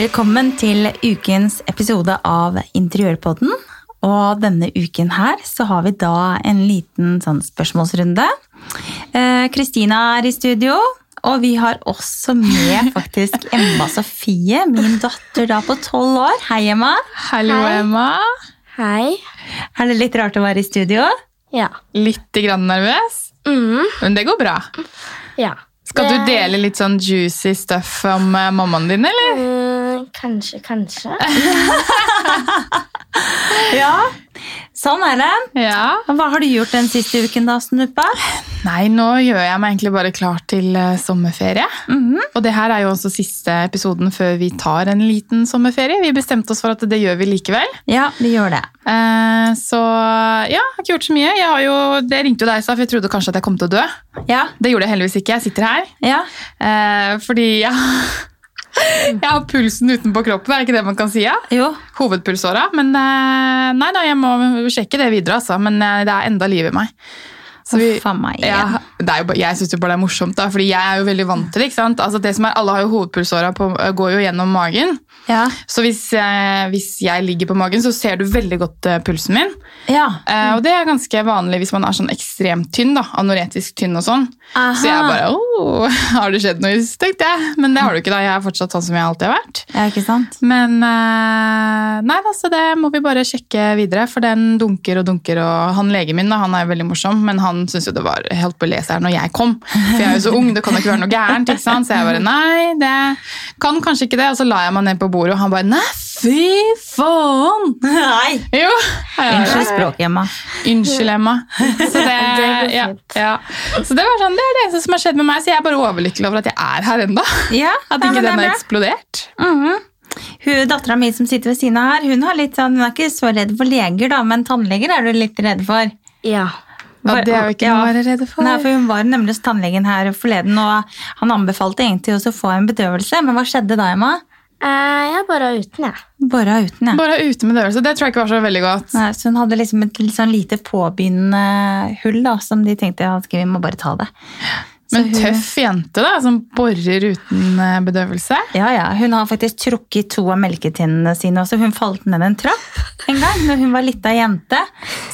Velkommen til ukens episode av Interiørpodden. Og denne uken her så har vi da en liten sånn spørsmålsrunde. Eh, Kristina er i studio, og vi har også med faktisk Emma Sofie, min datter da på tolv år. Hei, Emma. Hallo, Hei. Emma. Hei. Er det litt rart å være i studio? Ja. Litt grann nervøs, Mm, men det går bra. ja. Skal du Det- dele litt sånn juicy stuff om eh, mammaen din, eller? Mm, kanskje, kanskje. Ja. Sånn er det. Ja. Hva har du gjort den siste uken, da, Snuppa? Nei, nå gjør jeg meg egentlig bare klar til eh, sommerferie. Mhm. Og det her er jo også siste episoden før vi tar en liten sommerferie. Vi bestemte oss for at det gjør vi likevel. Ja, vi gjør det. Eh, Så ja, jeg har ikke gjort så mye. Jeg har jo, det ringte jo deg, Saf. Jeg trodde kanskje at jeg kom til å dø. Ja, Det gjorde jeg heldigvis ikke. Jeg sitter her. ja. eh, Fordi jeg, jeg har pulsen utenpå kroppen, er det ikke det man kan si? Ja? Jo. hovedpulsåra. Men eh, nei da, jeg må sjekke det videre, altså. Men eh, det er enda liv i meg. Så vi- Uff a meg igjen. ja, det er jo, bare- jeg syns bare det er morsomt, da, fordi jeg er jo veldig vant til det. ikke sant? Altså det som er, Alle har jo hovedpulsåra på, eh, går jo gjennom magen. Ja. Så hvis, eh, hvis jeg ligger på magen, så ser du veldig godt eh, pulsen min. ja. Eh, og det er ganske vanlig hvis man er sånn ekstremt tynn. da, Anoretisk tynn og sånn. Så jeg Aha. bare åh, har det skjedd noe? tenkte jeg. Men det har det ikke, da. Jeg er fortsatt sånn som jeg alltid har vært. Ja, ikke sant? Men eh, nei, da, så det må vi bare sjekke videre, for den dunker og dunker. og Han legen min da, han er jo veldig morsom, men han syntes jo det var helt på å lese her når jeg kom. For jeg er jo så ung, det kan jo ikke være noe gærent. ikke sant? Så jeg bare nei, det kan kanskje ikke det. Og så la jeg meg ned på bordet, og han bare nei, fy faen! Nei! Jo, jeg- Unnskyld språket, Emma. Unnskyld, Emma. Så det, går ja, fint. ja. så det var sånn, det er det eneste som har skjedd med meg, så jeg er bare overlykkelig over at jeg er her ennå. Ja, At nei, ikke men det er den har bra. eksplodert. Mhm. Hun, Dattera mi som sitter ved siden av her, hun, har litt sånn, hun er ikke så redd for leger, da, men tannleger er du litt redd for. Ja. Og det er jo ikke noe å være redd for. Nei, for Hun var nemlig hos tannlegen her forleden, og han anbefalte egentlig også å få en bedøvelse. Men hva skjedde da, Emma? Eh, jeg er bare uten, jeg. Bare uten, ja. Bare ute med døvelse. Det tror jeg ikke var så veldig godt. Nei, så hun hadde liksom et litt sånn lite påbegynnende hull da, som de tenkte ja, ok, vi må bare ta det. Så Men hun- tøff jente, da, som borer uten eh, bedøvelse. Ja, ja. Hun har faktisk trukket to av melketinnene sine også. Hun falt ned en trapp en gang når hun var lita jente.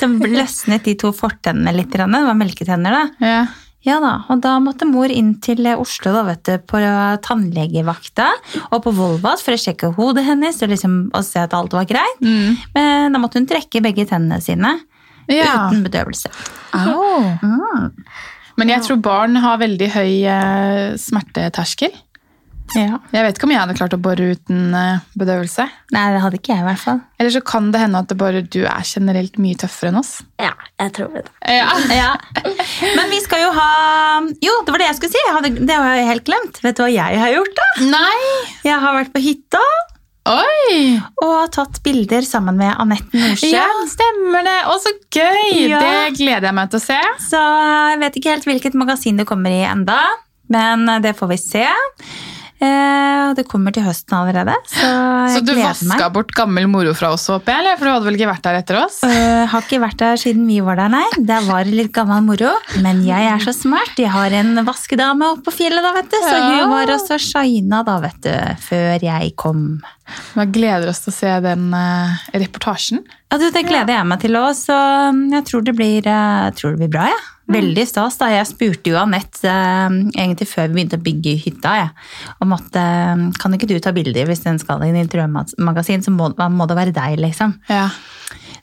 Så løsnet de to fortennene litt. grann. Det var melketenner, da. Ja. Ja da, og da måtte mor inn til Oslo da, vet du, på tannlegevakta og på Volvat for å sjekke hodet hennes og, liksom, og se at alt var greit. Mm. Men da måtte hun trekke begge tennene sine ja. uten Ah. bedøvelse. Au. Men jeg tror barn har veldig høy eh, smerteterskel. Ja. Jeg vet ikke om jeg hadde klart å bore uten eh, bedøvelse. Nei, det hadde ikke jeg i hvert fall. Eller så kan det hende at det bare, du er generelt mye tøffere enn oss. Ja, jeg tror det. Ja. Ja. Men vi skal jo ha Jo, det var det jeg skulle si. Jeg hadde, det har jeg helt glemt. Vet du hva jeg har gjort, da? Nei! Jeg har vært på hytta Oi! og tatt bilder sammen med Anette Norsjø. Ja, stemmer det! Å, så gøy! Ja. Det gleder jeg meg til å se. Så jeg vet ikke helt hvilket magasin det kommer i enda, men det får vi se. Eh, Det kommer til høsten allerede, så jeg Så du gleder meg. vaska bort gammel moro fra oss, håper jeg? Eller? For du hadde vel ikke vært der etter oss? Eh, har ikke vært der siden vi var der, nei. Der var det litt gammel moro. Men jeg er så smart. Jeg har en vaskedame oppe på fjellet, da, vet du. Så Ja. hun var også shina, da, vet du. Før jeg kom. Vi gleder oss til å se den eh, reportasjen. Ja, du, Det gleder jeg meg til òg, så mm, jeg tror det blir, eh, tror det blir bra. Ja. Veldig stas. da. Jeg spurte jo Anette eh, egentlig før vi begynte å bygge hytta, jeg, om at eh, kan ikke du ta bilder hvis den skal i en interiørmagasin, så må, må det være deg, liksom. Ja.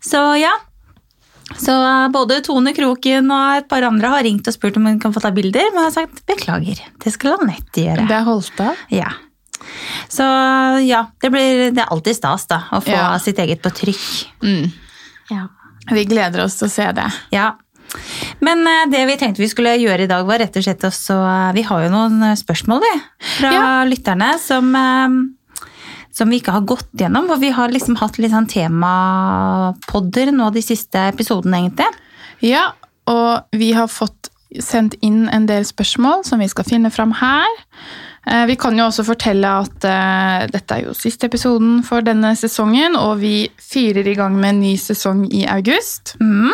Så ja. Så eh, både Tone Kroken og et par andre har ringt og spurt om hun kan få ta bilder, men jeg har sagt beklager, det skal Anette gjøre. Det er holdt av. Ja. Så ja, det, blir, det er alltid stas da, å få Ja. sitt eget på trykk. Mm. Ja. Vi gleder oss til å se det. Ja. Men eh, det vi tenkte vi skulle gjøre i dag, var rett og slett også eh, Vi har jo noen eh, spørsmål, vi, fra lytterne som eh, som vi ikke har gått gjennom, for vi har liksom hatt litt sånn temapodder nå de siste episodene, egentlig. Ja, og vi har fått sendt inn en del spørsmål som vi skal finne fram her. Eh, Vi kan jo også fortelle at eh, dette er jo siste episoden for denne sesongen, og vi fyrer i gang med en ny sesong i august. Mm.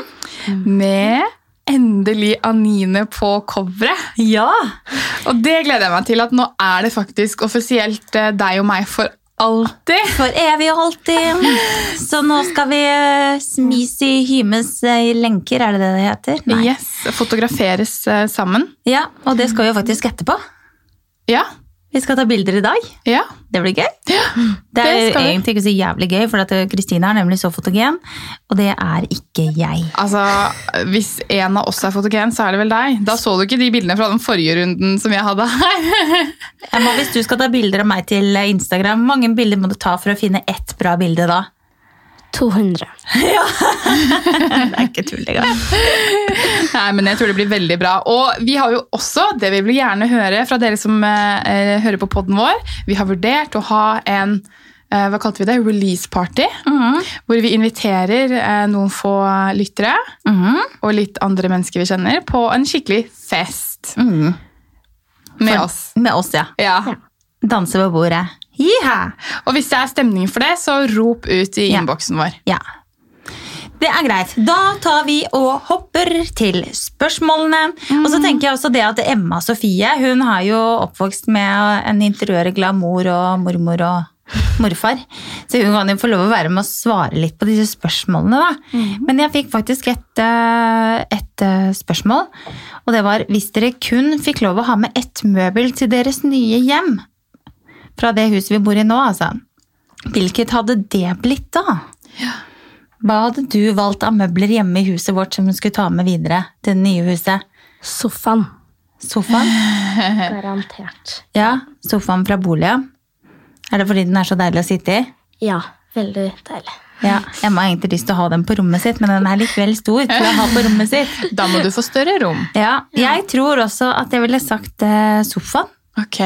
Med endelig Anine på coveret. Ja! Og det gleder jeg meg til, at nå er det faktisk offisielt eh, deg og meg for Alltid. For evig og alltid. Så nå skal vi eh, smis i hymes eh, i lenker, er det det det heter? Nei. Yes, Fotograferes eh, sammen. Ja, Og det skal vi jo faktisk etterpå. Ja. Vi skal ta bilder i dag. ja. Det blir gøy. Det det er jo skal vi. egentlig ikke så jævlig gøy, for at Kristine er nemlig så fotogen, og det er ikke jeg. Altså, Hvis en av oss er fotogen, så er det vel deg. Da så du ikke de bildene fra den forrige runden som jeg hadde her. Emma, hvis du skal ta bilder av meg til eh, Instagram, hvor mange bilder må du ta for å finne ett bra bilde da? 200. Det er ikke tull engang. Nei, men jeg tror det blir veldig bra. Og vi har jo også, det vi vil gjerne høre fra dere som eh, eh, hører på podden vår, vi har vurdert å ha en eh, hva kalte vi det? Release party. Mhm, Hvor vi inviterer eh, noen få lyttere mhm, og litt andre mennesker vi kjenner, på en skikkelig fest Mhm. med For- oss. Med oss, ja. Ja. Danse ved bordet. Jiha! Og hvis det er stemning for det, så rop ut i Ja. innboksen vår. Ja. Det er greit. Da tar vi og hopper til spørsmålene. Og så tenker jeg også det at Emma Sofie hun har jo oppvokst med en interiørglad mor og mormor og morfar. Så hun kan jo få lov å være med og svare litt på disse spørsmålene. da. Men jeg fikk faktisk et, eh, et eh, spørsmål. Og det var hvis dere kun fikk lov å ha med ett møbel til deres nye hjem fra det huset vi bor i nå, altså. Hvilket hadde det blitt da? Hva hadde du valgt av møbler hjemme i huset vårt som du skulle ta med videre til det nye huset? Sofaen. Sofaen? Garantert. Ja, sofaen fra boliga. Er det fordi den er så deilig å sitte i? Ja, veldig deilig. Ja, Emma har egentlig lyst til å ha den på rommet sitt, men den er litt vel stor til å ha på rommet sitt. Da må du få større rom. Ja, jeg tror også at jeg ville sagt eh, sofaen. Ok.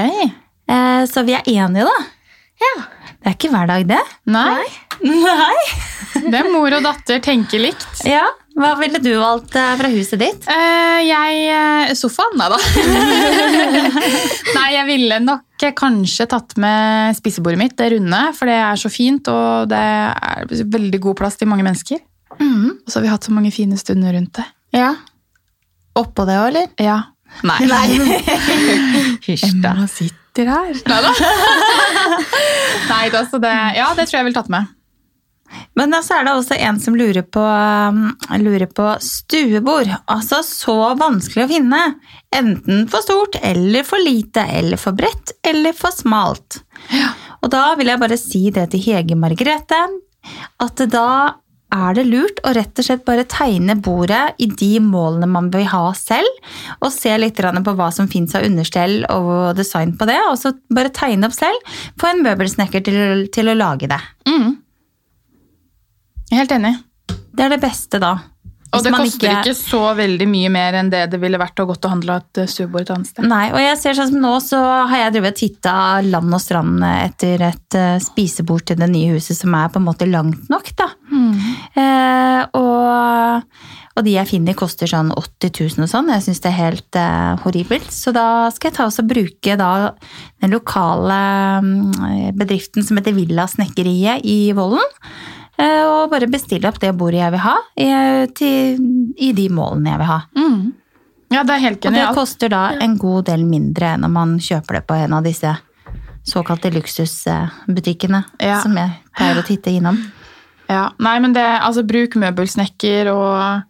Eh, så vi er enige, da. Ja. Det er ikke hver dag, det. Nei, Nei. det er mor og datter tenker likt. Ja, Hva ville du valgt eh, fra huset ditt? Eh, jeg eh, Sofaen, nei da. nei, jeg ville nok eh, kanskje tatt med spisebordet mitt, det runde. For det er så fint, og det er veldig god plass til mange mennesker. Mm. Og så har vi hatt så mange fine stunder rundt det. Ja. Oppå det òg, eller? Ja. Nei. Hysj, da. Emma sitter her. Nei da. nei da, så det Ja, det tror jeg jeg ville tatt med. Men så er det også en som lurer på, um, lurer på stuebord. Altså så vanskelig å finne. Enten for stort eller for lite, eller for bredt eller for smalt. Og da vil jeg bare si det til Hege Margrethe, at da er det lurt å rett og slett bare tegne bordet i de målene man vil ha selv, og se litt grann på hva som fins av understell og design på det, og så bare tegne opp selv. Få en møbelsnekker til, til å lage det. Jeg er Helt enig. Det er det beste, da. Og Hvis det man koster ikke... så veldig mye mer enn det det ville vært å gått og handla et eh, stuebord et annet sted. Nei, og jeg ser sånn som nå så har jeg drevet og titta land og strand etter et eh, spisebord til det nye huset som er på en måte langt nok, da. Hmm. Eh, og, og de jeg finner koster sånn 80 000 og sånn. Jeg syns det er helt eh, horribelt. Så da skal jeg ta og så bruke da den lokale mm, bedriften som heter Villa Snekkeriet i Vollen. eh, Og bare bestille opp det bordet jeg vil ha, i, til, i de målene jeg vil ha. Ja, det er helt Og det genialt. koster da en god del mindre enn om man kjøper det på en av disse såkalte luksusbutikkene Ja. som jeg pleier å titte innom. Ja. Nei, men det, altså, bruk møbelsnekker og,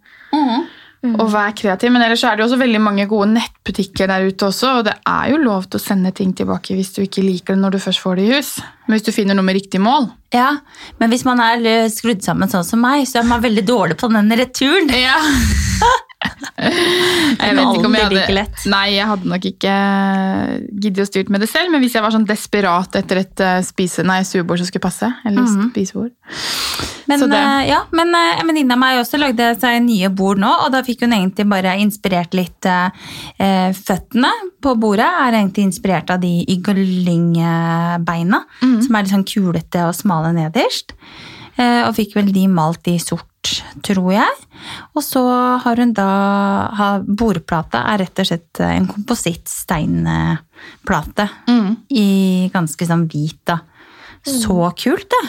Mm-hmm. og vær kreativ. Men ellers så er det jo også veldig mange gode nettbutikker der ute også, og det er jo lov til å sende ting tilbake hvis du ikke liker det når du først får det i hus. Men hvis du finner noe med riktig mål. Ja, Men hvis man er eh, skrudd sammen sånn som meg, så er man veldig dårlig på den returen. Ja. Jeg vet Men ikke om jeg alt blir like hadde, lett. nei, jeg hadde nok ikke eh, giddet å styrt med det selv, men hvis jeg var sånn desperat etter et eh, spise, nei, stuebord som skulle passe, eller Mhm. spisebord Men, Så det- eh, ja, men eh, en venninne av meg også lagde seg nye bord nå, og da fikk hun egentlig bare inspirert litt eh, eh, Føttene på bordet er egentlig inspirert av de yglingbeina, Mm. som er litt sånn kulete og smale nederst. Eh, og fikk vel de malt i sort, tror jeg. Og så har hun da har Bordplata er rett og slett en komposittsteinplate Mm. i ganske sånn hvit, da. Så kult, det!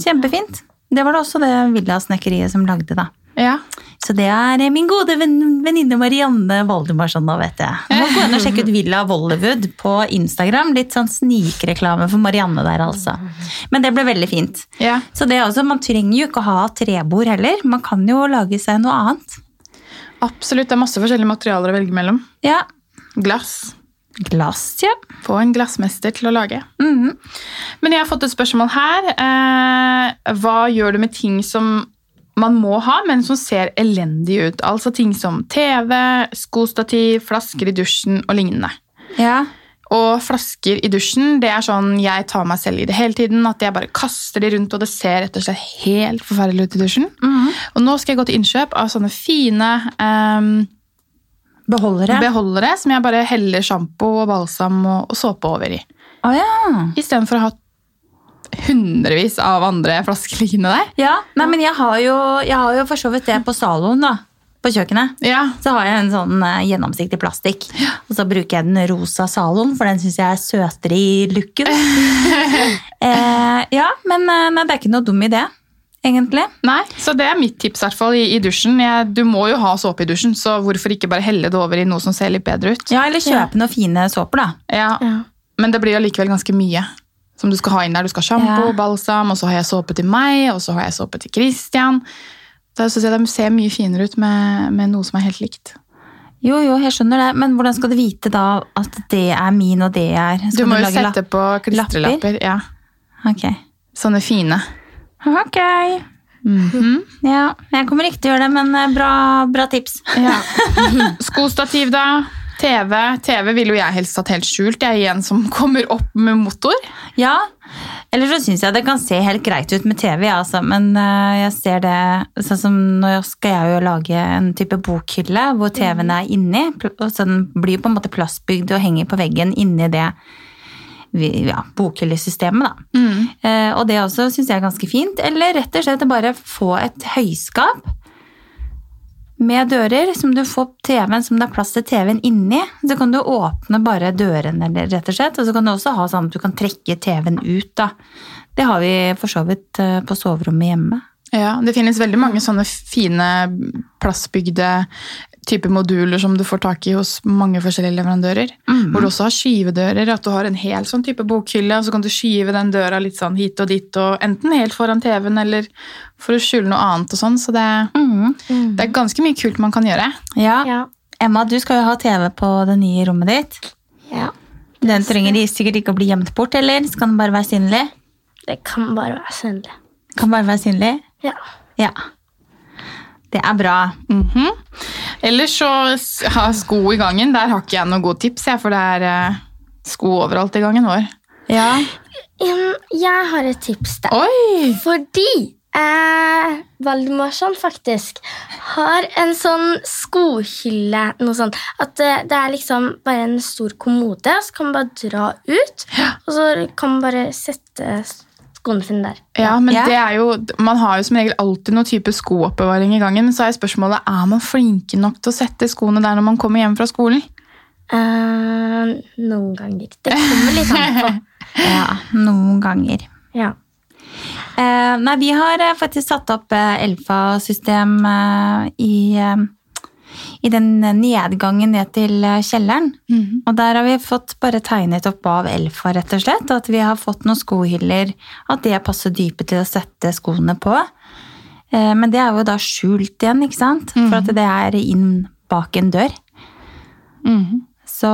Kjempefint. Det var det også det Villa Snekkeriet som lagde, da. Ja. Så det er eh, min gode venn- venninne Marianne Valdemarsson, da, vet jeg. Du må gå inn og sjekke ut Villa Vollewood på Instagram. Litt sånn snikreklame for Marianne der, altså. Men det ble veldig fint. ja. Så det er også, Man trenger jo ikke å ha trebord heller. Man kan jo lage seg noe annet. Absolutt. Det er masse forskjellige materialer å velge mellom. Ja. Glass. Glass, ja. Få en glassmester til å lage. Mhm. Men jeg har fått et spørsmål her. Eh, hva gjør du med ting som man må ha, men som ser elendige ut? Altså ting som TV, skostativ, flasker i dusjen og lignende. ja. Og flasker i dusjen, det er sånn jeg tar meg selv i det hele tiden. At jeg bare kaster de rundt, og det ser rett og slett helt forferdelig ut i dusjen. Og nå skal jeg gå til innkjøp av sånne fine eh, Beholdere. beholdere som jeg bare heller sjampo og balsam og, og såpe over i. Å ja. Istedenfor å ha hundrevis av andre flasker liggende der. ja. Nei, men jeg har jo, jeg har jo for så vidt det på saloen, da. På kjøkkenet. Ja, Så har jeg en sånn eh, gjennomsiktig plastikk. Og så bruker jeg den rosa saloen, for den syns jeg er søtere i looken. eh, ja, men eh, nei, det er ikke noe dum idé, egentlig. nei, så Det er mitt tips i, hvert fall, i, i dusjen. Jeg, du må jo ha såpe i dusjen, så hvorfor ikke bare helle det over i noe som ser litt bedre ut? Ja, Eller kjøpe noen fine såper, da. Ja, Ja. Men det blir allikevel ganske mye som du skal ha inn der. Du skal ha sjampo, Ja. balsam, og så har jeg såpe til meg, og så har jeg såpe til Christian. Da synes jeg De ser mye finere ut med, med noe som er helt likt. Jo, jo, jeg skjønner det, men hvordan skal du vite da at det er min, og det er Du Skal må jo lage la- sette på klistrelapper. Ja. Ok. Sånne fine. Ok. Mm. Mhm. Ja, jeg kommer ikke til å gjøre det, men eh, bra, bra tips. Ja. Skostativ, da. TV. TV ville jo jeg helst hatt helt skjult. Jeg er en som kommer opp med motor. Ja, eller så syns jeg det kan se helt greit ut med TV, ja, altså. men eh, jeg ser det sånn som Nå skal jeg jo lage en type bokhylle hvor TV-en er inni, pl- og så den blir på en måte plassbygd og henger på veggen inni det vi- ja, bokhyllesystemet, da. Eh, og det også syns jeg er ganske fint. Eller rett og slett bare få et høyskap med dører, som du får TV-en som det er plass til TV-en inni. Så kan du åpne bare dørene, eller rett og slett. Og så kan du også ha sånn at du kan trekke TV-en ut, da. Det har vi for så vidt eh, på soverommet hjemme. Ja, Det finnes veldig mange sånne fine plassbygde type moduler som du får tak i hos mange forskjellige leverandører. Hvor du også har skyvedører. At du har en hel sånn type bokhylle, og så kan du skyve den døra litt sånn hit og dit. og Enten helt foran TV-en eller for å skjule noe annet. og sånn, Så det, Mm. det er ganske mye kult man kan gjøre. Ja. Ja. Emma, du skal jo ha TV på det nye rommet ditt. ja. Den trenger de sikkert ikke å bli gjemt bort, eller? Så kan den bare være synlig? Det kan bare være søndag. Kan bare være synlig? Ja. Ja. Det er bra. Mhm. Ellers så s- ha sko i gangen. Der har ikke jeg noen gode tips, jeg, for det er eh, sko overalt i gangen vår. Ja. Em, Jeg har et tips der. Oi! Fordi eh, Valdemarsson faktisk har en sånn skohylle, noe sånt. At eh, det er liksom bare en stor kommode, så kan man bare dra ut. Og så kan man bare sette skoene sine der. Ja, men Ja. det er jo, Man har jo som regel alltid noen type skooppbevaring i gangen. Men så er spørsmålet er man flinke nok til å sette skoene der når man kommer hjem fra skolen. Eh, noen ganger. Det kommer litt an på. ja. Noen ganger. Ja. Eh, nei, vi har eh, faktisk satt opp eh, Elfa-system eh, i, eh, i den nedgangen ned til eh, kjelleren. Og der har vi fått bare tegnet opp av Elfa, rett og slett. At vi har fått noen skohyller, at det passer dypet til å sette skoene på. Eh, men det er jo da skjult igjen, ikke sant? For at det er inn bak en dør. Så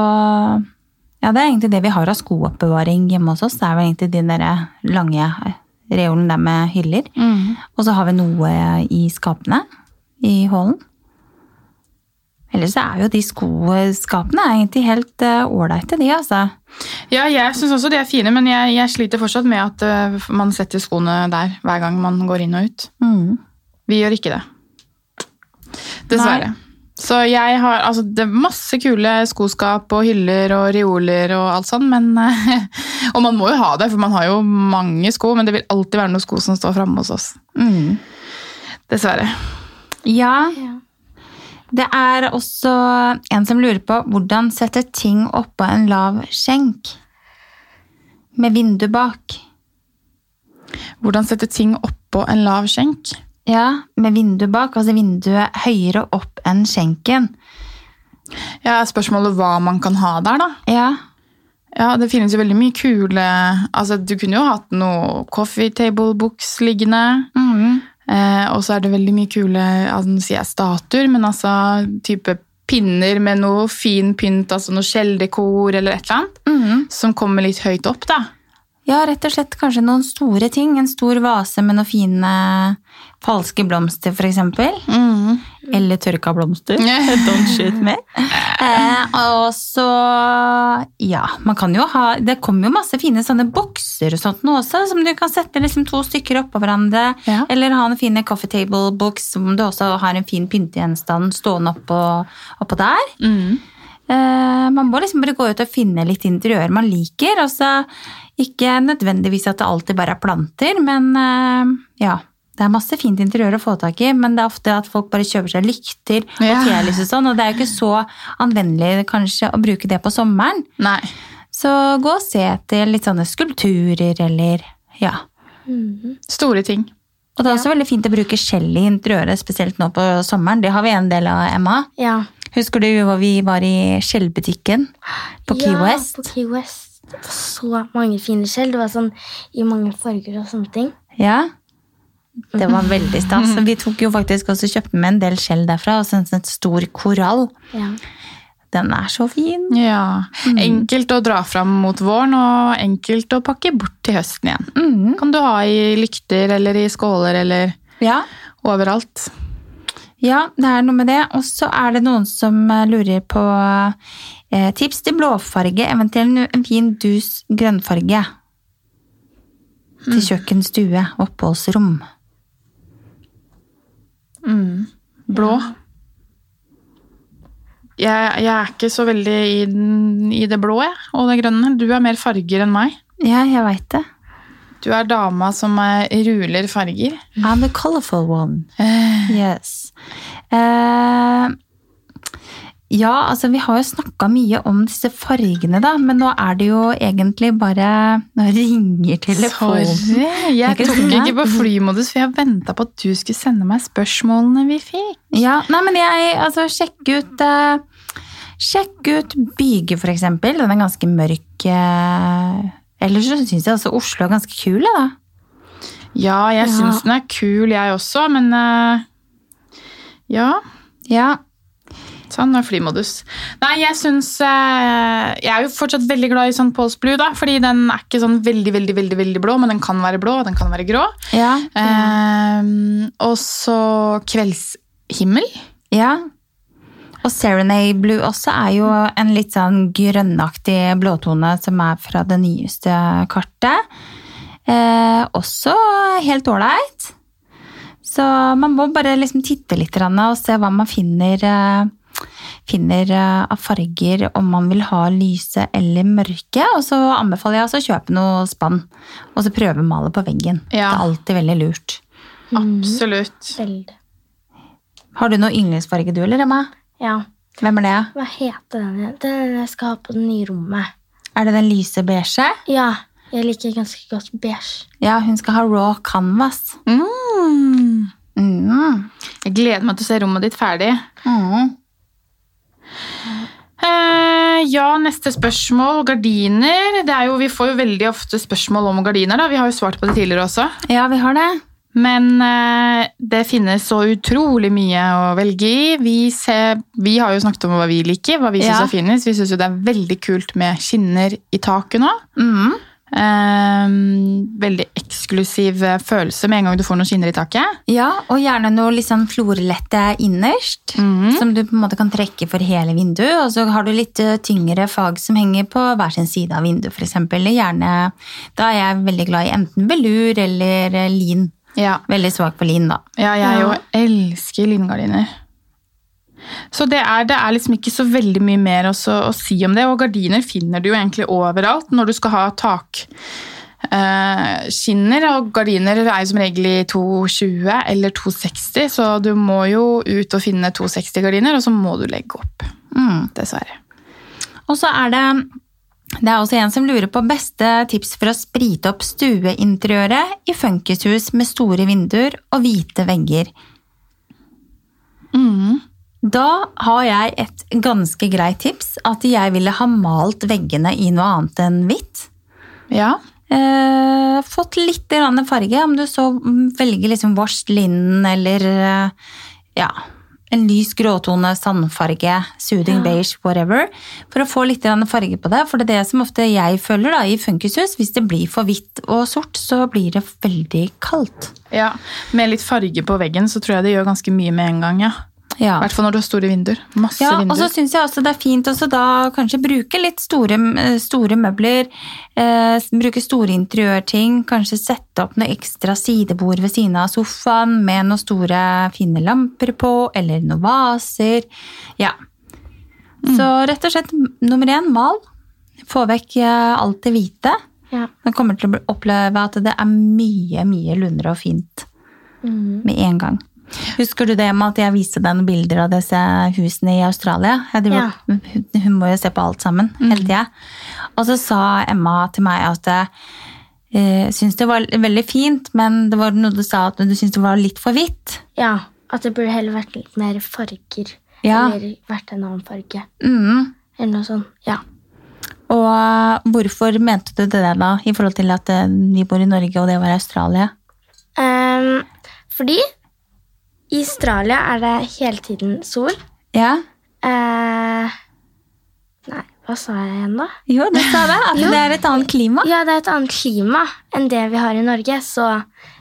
ja, det er egentlig det vi har av skooppbevaring hjemme hos oss. Det er vel egentlig de der lange reolen der med hyller. Og så har vi noe i skapene i hallen. Ellers så er jo de skoskapene egentlig helt eh, ålreite, de, altså. Ja, Jeg syns også de er fine, men jeg, jeg sliter fortsatt med at øh, man setter skoene der hver gang man går inn og ut. Mm. Vi gjør ikke det. Dessverre. Så jeg har altså, det er masse kule skoskap og hyller og reoler og alt sånn, men Og man må jo ha det, for man har jo mange sko, men det vil alltid være noen sko som står framme hos oss. Mm. Dessverre. Ja, ja. det er også en som lurer på hvordan sette ting oppå en lav skjenk med vindu bak. Hvordan sette ting oppå en lav skjenk? Ja, med vindu bak, altså vinduet høyere opp enn skjenken. Ja, spørsmålet hva man kan ha der, da. Ja, Ja, det finnes jo veldig mye kule Altså, du kunne jo hatt noe coffee table books liggende. mhm. Eh, og så er det veldig mye kule altså, Nå sier jeg statuer, men altså type pinner med noe fin pynt, altså noe skjelldekor eller et eller annet, Mhm. som kommer litt høyt opp, da. ja rett og slett kanskje noen store ting. En stor vase med noen fine falske blomster, for eksempel. Eller tørka blomster. Mm. Don't shoot me. Eh, og så Ja, man kan jo ha Det kommer jo masse fine sånne bokser og sånt nå også, som du kan sette liksom to stykker oppå hverandre. Ja. Eller ha en fine coffee table books som du også har en fin pyntegjenstand stående oppå, oppå der. Mm. Eh, man må liksom bare gå ut og finne litt interiør man liker. Altså ikke nødvendigvis at det alltid bare er planter, men eh, ja. Det er masse fint interiør å få tak i, men det er ofte at folk bare kjøper seg lykter og Ja. telys og sånn, og det er jo ikke så anvendelig kanskje å bruke det på sommeren. Nei. Så gå og se etter litt sånne skulpturer eller ja. Mhm. Store ting. Og det er også veldig fint å bruke skjell i interiøret, spesielt nå på sommeren. Det har vi en del av, Emma. Ja. Husker du hvor vi var i skjellbutikken på Key ja, West? På Key West. Det var så mange fine skjell. Det var sånn i mange farger og sånne ting. Ja. Mm. Det var veldig stas. Så Vi tok jo faktisk også kjøpte med en del skjell derfra, og så en sånn stor korall. Ja. Den er så fin. Ja. Enkelt å dra fram mot våren, og enkelt å pakke bort til høsten igjen. Mhm. Kan du ha i lykter eller i skåler eller Ja. overalt. Ja, det er noe med det. Og så er det noen som eh, lurer på eh, tips til blåfarge, eventuelt en fin dus grønnfarge. Til kjøkken, stue, oppholdsrom. Blå. Jeg, jeg er ikke så veldig i, den, i det blå jeg, og det grønne. Du er mer farger enn meg. Ja, jeg veit det. Du er dama som eh, ruler farger. I'm the colorful one. Yes. Eh, ja, altså vi har jo snakka mye om disse fargene, da, men nå er det jo egentlig bare Nå ringer telefonen. Sorry. Det Jeg er ikke tok sånn, ikke ja. på flymodus, for jeg venta på at du skulle sende meg spørsmålene vi fikk. Ja, nei, men jeg altså, sjekk ut eh, Sjekk ut Byge, for eksempel. Den er ganske mørk. Eh, ellers så syns jeg også Oslo er ganske kul, jeg, da. Ja, jeg Ja. syns den er kul, jeg også, men eh, Ja. Ja, Sånn var flymodus. Nei, jeg syns eh, Jeg er jo fortsatt veldig glad i sånn Pauls Blue, da, fordi den er ikke sånn veldig, veldig, veldig veldig blå, men den kan være blå, og den kan være grå. ja, Eh, Ehm, og så kveldshimmel. ja. Og Serenade Blue også er jo en litt sånn grønnaktig blåtone som er fra det nyeste kartet. Eh, også helt ålreit. Så man må bare liksom titte litt grann og se hva man finner, eh, finner eh, av farger, om man vil ha lyse eller mørke. Og så anbefaler jeg altså å kjøpe noe spann og så prøvemale på veggen. Ja. Det er alltid veldig lurt. Mm. Absolutt. Veldig. Har du noe yndlingsfarge du, eller Emma? Ja. Hvem er det? Hva heter den igjen? Den er den jeg skal ha på det nye rommet. Er det den lyse beige? Ja. Jeg liker ganske godt beige. Ja, hun skal ha raw canvas. Mm. Mm. Jeg gleder meg til å se rommet ditt ferdig. Mm. Eh, ja, neste spørsmål. Gardiner. Det er jo, vi får jo veldig ofte spørsmål om gardiner. da. Vi har jo svart på det tidligere også. Ja, vi har det. Men eh, det finnes så utrolig mye å velge i. Vi, ser, vi har jo snakket om hva vi liker, hva vi syns Ja. er finest. Vi syns jo det er veldig kult med skinner i taket nå. Mm. Eh, veldig eksklusiv eh, følelse med en gang du får noen skinner i taket. Ja, og gjerne noe litt sånn florlette innerst, Mhm. som du på en måte kan trekke for hele vinduet, og så har du litt eh, tyngre fag som henger på hver sin side av vinduet, for eksempel. Gjerne, da er jeg veldig glad i enten velur eller eh, lin. Ja, Veldig svak på lin, da. ja jeg Ja. jo elsker lingardiner. Så det er, det er liksom ikke så veldig mye mer også, å si om det. Og gardiner finner du jo egentlig overalt når du skal ha tak. eh, skinner og gardiner er jo som regel i 220 eller 260, så du må jo ut og finne 260-gardiner, og så må du legge opp, Mm. dessverre. Og så er det Det er også en som lurer på beste tips for å sprite opp stueinteriøret i funkishus med store vinduer og hvite vegger. Da har jeg et ganske greit tips, at jeg ville ha malt veggene i noe annet enn hvitt. Ja. Eh, fått litt grann farge, om du så velger liksom washed linen eller eh, ja, en lys gråtone, sandfarge, soothing beige, whatever, for å få litt grann farge på det. For det er det som ofte jeg føler da, i funkishus. Hvis det blir for hvitt og sort, så blir det veldig kaldt. ja. Med litt farge på veggen så tror jeg det gjør ganske mye med en gang. ja. Ja. I hvert fall når du har store vinduer. Masse Ja, og vinduer. så syns jeg også det er fint også da kanskje bruke litt store, eh, store møbler. Eh, s- bruke store interiørting. Kanskje sette opp noe ekstra sidebord ved siden av sofaen med noen store, fine lamper på, eller noen vaser. Ja. Mm. Så rett og slett m- nummer én mal. Få vekk eh, alt det hvite. Ja. Man kommer til å bli- oppleve at det er mye, mye lunere og fint med en gang. Husker du det med at jeg viste deg noen bilder av disse husene i Australia? Jeg driver, hun, hun må jo se på alt sammen hele tida. Og så sa Emma til meg at jeg syntes det var veldig fint, men det var noe du sa at du syntes det var litt for hvitt. ja. At det burde heller vært litt mer farger. Ja. Eller vært en annen farge. Mm. Eller noe sånt. Ja. Og eh, hvorfor mente du det der da, i forhold til at eh, vi bor i Norge og det var Australia? Ehm, fordi i Australia er det hele tiden sol. Ja, Eh, nei, hva sa jeg igjen, da? jo, det sa det. At det er et annet klima. Ja, det er et annet klima enn det vi har i Norge, så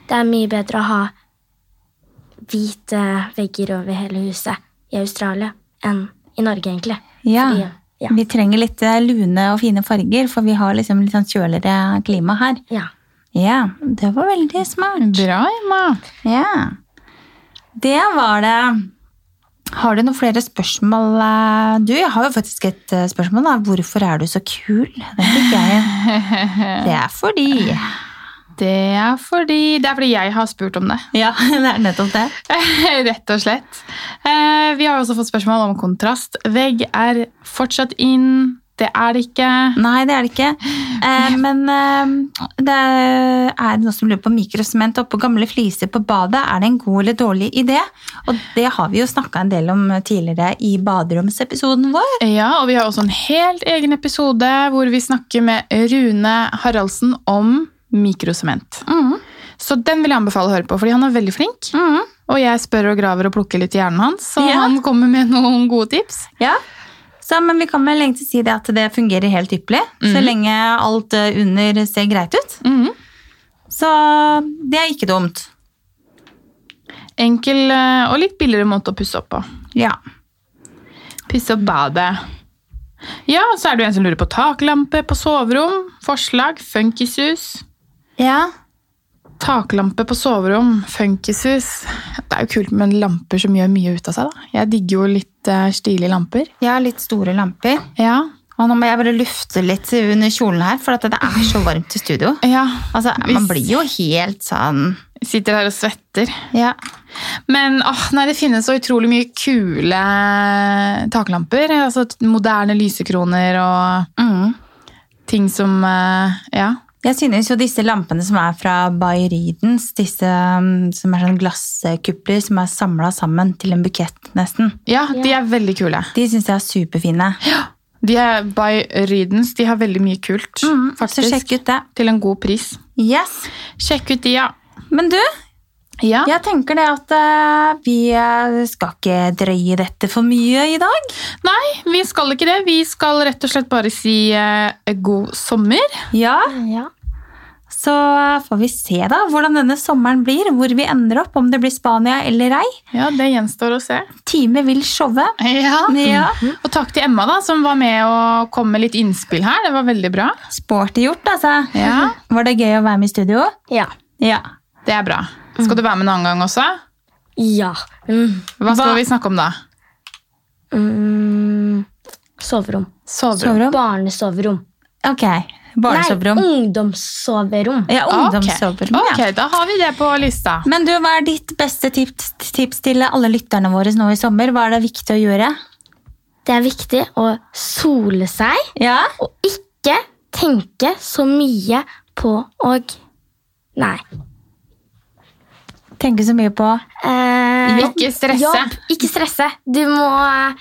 det er mye bedre å ha hvite vegger over hele huset i Australia enn i Norge, egentlig. Ja. Fordi, ja. Vi trenger litt eh, lune og fine farger, for vi har liksom litt sånn kjøligere klima her. ja. Ja, det var veldig smart. Bra, Emma. Ja. Det var det. Har du noen flere spørsmål? eh? Du, jeg har jo faktisk et eh, spørsmål. da. Hvorfor er du så kul? Det fikk jeg. Det er fordi Det er fordi, det er fordi jeg har spurt om det. Ja, det er nettopp det. Rett og slett. Eh, vi har også fått spørsmål om kontrast. Vegg er fortsatt inn. Det er det ikke. Nei, det er det ikke. Eh, men eh, det er noe som lurer på mikrosement oppå gamle fliser på badet. Er det en god eller dårlig idé? Og det har vi jo snakka en del om tidligere i baderomsepisoden vår. Ja, og vi har også en helt egen episode hvor vi snakker med Rune Haraldsen om mikrosement. Mhm. Så den vil jeg anbefale å høre på, fordi han er veldig flink. Mhm. Og jeg spør og graver og plukker litt i hjernen hans, så Ja. han kommer med noen gode tips. Ja. Så, men vi kan vel egentlig si det at det fungerer helt ypperlig. Så lenge alt eh, under ser greit ut. Mhm. Så det er ikke dumt. Enkel eh, og litt billigere måte å pusse opp på. Ja. Pisse opp badet. Ja, så er det jo en som lurer på taklampe på soverom. Forslag funkishus. Ja. Taklampe på soverom, funkishus. Det er jo kult med lamper som gjør mye ut av seg, da. Jeg digger jo litt eh, stilige lamper. Jeg har litt store lamper. Ja. Og nå må jeg bare lufte litt under kjolen her, for at det er så varmt i studio. ja. Altså, Hvis- man blir jo helt sånn Sitter her og svetter. Ja. Men åh, nei, det finnes så utrolig mye kule eh, taklamper. Altså moderne lysekroner og Mm. ting som eh, Ja. Jeg synes jo disse lampene som er fra Bayridens, disse um, som er sånn glasskupler som er samla sammen til en bukett, nesten, Ja, de er veldig kule. de syns jeg er superfine. De er by Rydens. De har veldig mye kult, Mm, så faktisk. sjekk ut det. Til en god pris. Yes. Sjekk ut de, ja. Men du, Ja, jeg tenker det at eh, vi eh, skal ikke drøye dette for mye i dag. Nei, vi skal ikke det. Vi skal rett og slett bare si eh, god sommer. Ja, ja. Så eh, får vi se da hvordan denne sommeren blir, hvor vi ender opp, om det blir Spania eller ei. Ja, det gjenstår å se. Time vil showe. Ja. Ja. Og takk til Emma, da, som var med og kom med litt innspill her. Det var veldig bra. Sporty gjort, altså. Ja. Var det gøy å være med i studio? Ja. Ja. Det er bra. Mm. Skal du være med en annen gang også? Ja. Mm. Hva Hva- skal vi snakke om da? Mm. Soverom. Soverom. Soverom? Barnesoverom. Ok. Barnesoverom. Ah, Nei, ungdomssoverom. Ja, Ok. ungdomssoverom. Ja. ok, da har vi det på lista. Men du, hva er ditt beste tips, tips til alle lytterne våre nå i sommer? Hva er det viktig å gjøre? Det er viktig å sole seg Ja. og ikke ikke tenke så mye på og Nei. Tenke så mye på Eh, Ikke stresse. Jobb. Ikke stresse. Du må eh,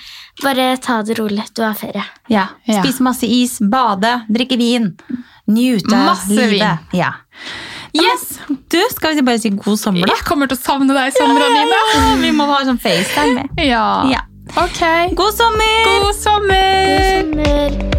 bare ta det rolig. Du har ferie. ja, Ja. spise masse is, bade, drikke vin. Nyte Masse livet. vin. Ja. Yes! Du, skal vi bare si god sommer, da? Jeg kommer til å savne deg i sommer, Anine. Ja, Vi må ha sånn FaceTime med. Ja. Ja. Ok. God sommer! God sommer! Sommer.